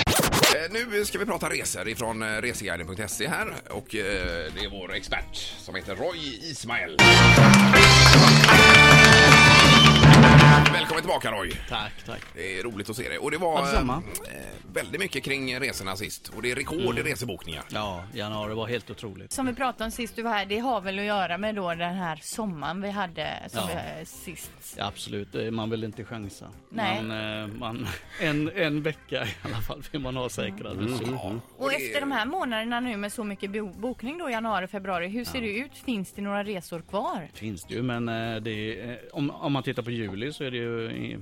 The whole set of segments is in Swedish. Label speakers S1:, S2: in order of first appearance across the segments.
S1: Eh, nu ska vi prata resor ifrån eh, reseguiden.se här och eh, det är vår expert som heter Roy Ismael. Välkommen tillbaka Roy!
S2: Tack, tack.
S1: Det är roligt att se dig. Och det var
S2: Ja, detsamma.
S1: eh, väldigt mycket kring resorna sist och det är rekord
S2: Mm.
S1: i resebokningar.
S2: Ja, januari var helt otroligt.
S3: Som vi pratade om sist du var här, det har väl att göra med då den här sommaren vi hade som
S2: Ja.
S3: vi, eh, sist.
S2: Ja, absolut, eh, man vill inte chansa.
S3: Nej.
S2: Man, eh, man, en, en vecka i alla fall vill man ha säkrare.
S1: Ja,
S3: Och
S1: det-
S3: efter de här månaderna nu med så mycket bo- bokning då januari, februari, hur ser det ut? Finns det några resor kvar?
S2: finns det ju, men eh, det är, eh, om, om man tittar på juli så är det ju, eh,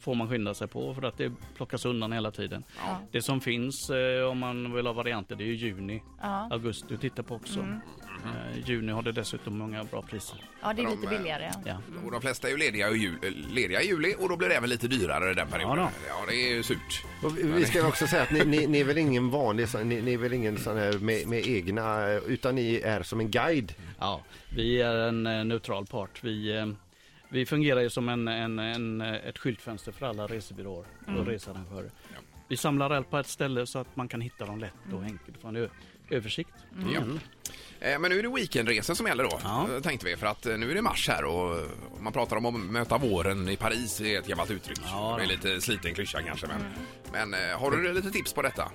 S2: får man skynda sig på för att det plockas undan hela tiden. Det som finns eh, om man vill ha varianter det är ju juni,
S3: Ja.
S2: augusti du tittar på också. Eh, juni har det dessutom många bra priser.
S3: Ja, det är
S1: De,
S3: lite
S1: eh,
S3: billigare. ja.
S2: Ja.
S1: Och de flesta är ju lediga i, jul, eh, lediga i juli och då blir det även lite dyrare i den perioden. Ja,
S2: Ja
S1: det är ju surt.
S4: Och vi- vi ska också säga att ni, ni, ni är väl ingen vanlig, så- ni, ni är väl ingen sån här med, med egna, eh, utan ni är som en guide.
S2: Ja, vi är en eh, neutral part. Vi, eh, vi fungerar ju som en, en, en, eh, ett skyltfönster för alla resebyråer och researrangörer.
S1: Ja.
S2: Vi samlar allt på ett ställe så att man kan hitta dem lätt och enkelt från ö- översikt.
S1: Ja. Eh, Men nu är det weekendresor som gäller då,
S2: Mm. Ja.
S1: eh, tänkte vi. För att eh, nu är det mars här och eh, man pratar om att möta våren i Paris, är ett gammalt uttryck.
S2: Ja.
S1: det är lite sliten klyscha kanske, men, men eh, har du lite tips på detta?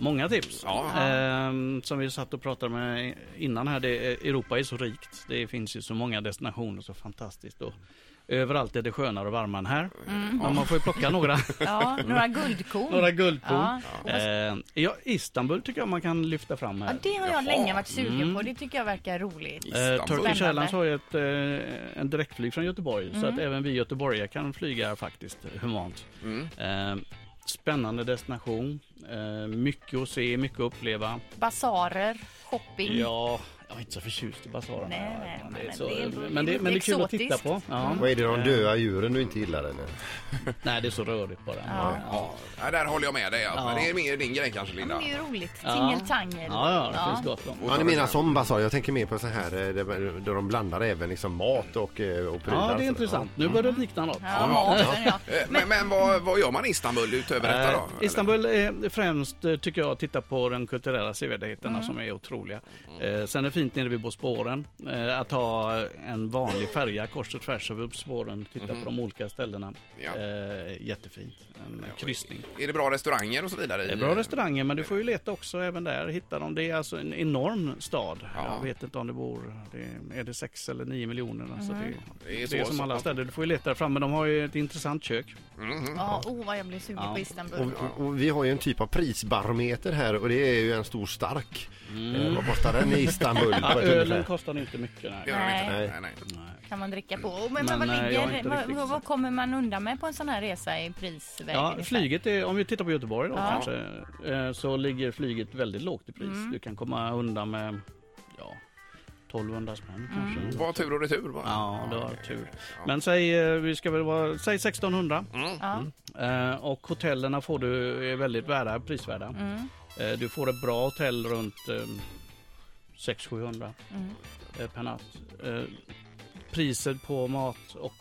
S2: Många tips.
S1: Ja.
S2: Ehm, som vi satt och pratade med innan här, det, eh, Europa är så rikt. Det finns ju så många destinationer, så fantastiskt. Och överallt är det skönare och varmare än här. Men man får ju plocka några.
S3: Ja, några guldkorn.
S2: Några guldkorn.
S3: Ja.
S2: Ehm, ja, Istanbul tycker jag man kan lyfta fram här.
S3: Ja, det har jag
S1: Jaha.
S3: länge varit sugen
S2: Mm.
S3: på. Det tycker jag verkar roligt.
S2: Eh, Turkish
S3: Spännande. Mm.
S2: Airlines har ju ett, eh, en direktflyg från Göteborg så att även vi göteborgare kan flyga faktiskt humant. Eh, spännande destination, eh, mycket att se, mycket att uppleva.
S3: Basarer, shopping.
S2: Ja, jag är inte så förtjust i basarerna.
S3: Nej, nej,
S2: det är
S3: men
S2: så,
S3: det är-
S2: men, det, men det är kul att titta
S3: exotiskt.
S2: på. Ja.
S4: Vad är det de döda djuren du inte gillar eller?
S2: Nej, det är så rörigt bara. Ja, ja.
S1: Ja, där håller jag med dig. Ja.
S2: Ja.
S1: Men det är mer din grej kanske,
S3: Ja, men
S1: Linda.
S3: det är ju roligt.
S2: Ja.
S3: Tingeltangel.
S2: ja, det finns gott om.
S4: Ja, ni menar som basar. Jag tänker mer på så här eh, där där de blandar även liksom mat och, eh, och prylar.
S2: Ja,
S4: och
S2: det är
S4: sådär.
S2: intressant. Nu börjar det likna något.
S3: Ja, maten, ja.
S1: Eh, Men, men vad, vad gör man i Istanbul utöver detta då?
S2: Eh, Istanbul är främst, eh, tycker jag, att titta på de kulturella sevärdheterna
S1: Mm.
S2: som är otroliga. Eh, sen är det fint nere vid Bosporen eh, att ha en vanlig färja kors och tvärs över Bosporen och titta på de olika ställena.
S1: Mm. Ja.
S2: Eh, jättefint. En kryssning.
S1: Eller? Är det bra restauranger och så vidare?
S2: Det är bra restauranger men du får ju leta också även där. Hitta dem. Det är alltså en enorm stad.
S1: Ja.
S2: Jag vet inte om det bor, det är, är det 6 eller 9 miljoner? Alltså det,
S1: Det
S2: det
S1: är
S2: är,
S1: så-
S2: som alla
S1: så-
S2: städer. Du får ju leta fram men de har ju ett intressant kök.
S3: Ja, oh, vad jag blir sugen
S2: Ja.
S3: på Istanbul.
S4: Och, och vi har ju en typ av prisbarometer här och det är ju en stor stark. Eh, vad kostar den i Istanbul?
S2: Ja,
S4: På ett
S2: Mm. Ah, ölen
S4: ungefär?
S2: kostar inte mycket. Nej.
S1: Det gör de inte.
S4: Nej.
S1: Nej, nej.
S3: kan man dricka på. Oh, men,
S2: Men,
S3: vad,
S2: eh, jag är
S3: ligger,
S2: inte
S3: vad,
S2: riktigt
S3: vad,
S2: så.
S3: vad kommer man undan med på en sån här resa i prisväg? Liksom?
S2: Ja,
S3: ungefär?
S2: flyget är, om vi tittar på Göteborg då
S3: Ja.
S2: kanske, eh, så ligger flyget väldigt lågt i pris.
S3: Mm.
S2: Du kan komma undan med ja, 1200
S3: Mm.
S2: spänn kanske.
S1: Bara tur och retur bara.
S2: Ja, det var
S1: okej.
S2: tur.
S1: Ja.
S2: Men säg, eh, vi ska väl vara, säg 1600
S3: Ja.
S2: eh, och hotellerna får du är väldigt värda, prisvärda.
S3: Mm.
S2: Eh, du får ett bra hotell runt eh, 600-700
S3: Mm.
S2: eh, per natt. Eh, priset på mat och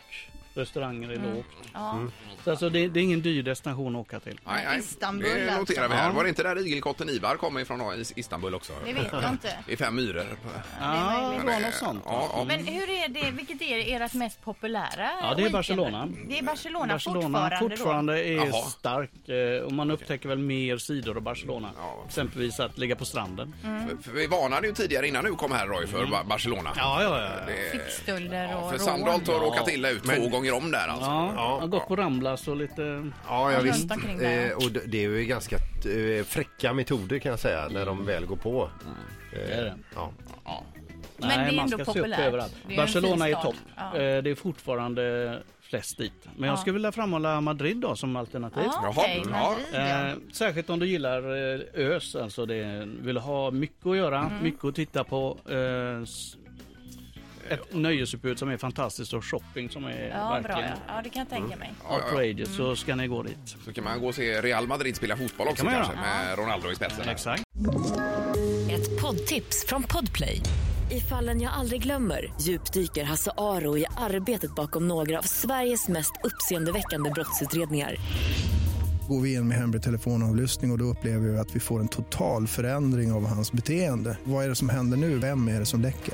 S2: restauranger är
S3: Mm.
S2: lågt.
S3: Ja.
S2: Så alltså, det, det är ingen dyr destination att åka till.
S1: Nej, nej.
S3: Istanbul,
S1: det
S3: alltså.
S1: noterar vi här.
S2: Ja.
S1: Var det inte där igelkotten Ivar kommer ifrån då, i Istanbul också?
S3: Det vet jag inte.
S1: I fem myror. eh,
S2: Ja,
S3: möjligt.
S2: det var något sånt.
S1: Ja, ja.
S3: Men hur är det, vilket är ert mest populära?
S2: Ja, det är
S3: weekend?
S2: Barcelona.
S3: Det är Barcelona,
S2: Barcelona
S3: fortfarande, då?
S2: fortfarande är
S1: Jaha.
S2: stark eh, och man upptäcker väl mer sidor av Barcelona.
S1: Ja. Mm.
S2: Exempelvis att ligga på stranden.
S1: För- för Vi varnade ju tidigare innan du kom här Roy
S2: Mm.
S1: för Ba- Barcelona.
S2: Ja, ja, ja. ja.
S1: Det-
S3: Fickstölder
S1: Ja,
S3: och
S1: för
S3: rån.
S1: Sandholt har
S2: Ja.
S1: råkat illa ut två gånger om där alltså.
S2: Ja, jag har gått på Ramblas och lite...
S4: Ja, ja
S3: Runt
S4: visst.
S3: omkring där, ja.
S4: Eh, och det det är ju ganska eh, fräcka metoder kan jag säga när de väl går på. Eh,
S2: är Mm. det.
S4: Ja.
S3: Men det är
S2: man
S3: ändå
S2: ska se upp
S3: populärt.
S2: överallt.
S3: Det är en
S2: Barcelona
S3: fin
S2: är
S3: stad.
S2: topp.
S3: Ja.
S2: Eh, Det är fortfarande flest dit. Men jag skulle vilja framhålla Madrid då som alternativ.
S3: Ja,
S1: Jaha.
S3: okej,
S1: Ja.
S3: Madrid, ja.
S2: Eh, särskilt om du gillar eh, ös, alltså det, vill ha mycket att göra,
S3: Mm.
S2: mycket att titta på. Eh, s- ett nöjesutbud som är fantastiskt och shopping som är
S3: Ja, bra.
S2: verkligen
S3: Ja. ja, det kan jag tänka mig.
S1: ja, ja.
S2: outrageous så ska ni gå dit.
S1: Så kan man gå och se Real Madrid spela fotboll också
S2: kan man göra.
S1: kanske med Ronaldo i spetsen.
S2: Exakt.
S5: Ett poddtips från Podplay. I fallen jag aldrig glömmer djupdyker Hasse Aro i arbetet bakom några av Sveriges mest uppseendeväckande brottsutredningar.
S6: Går vi in med hemlig telefonavlyssning och, och då upplever vi att vi får en total förändring av hans beteende. Vad är det som händer nu? Vem är det som läcker?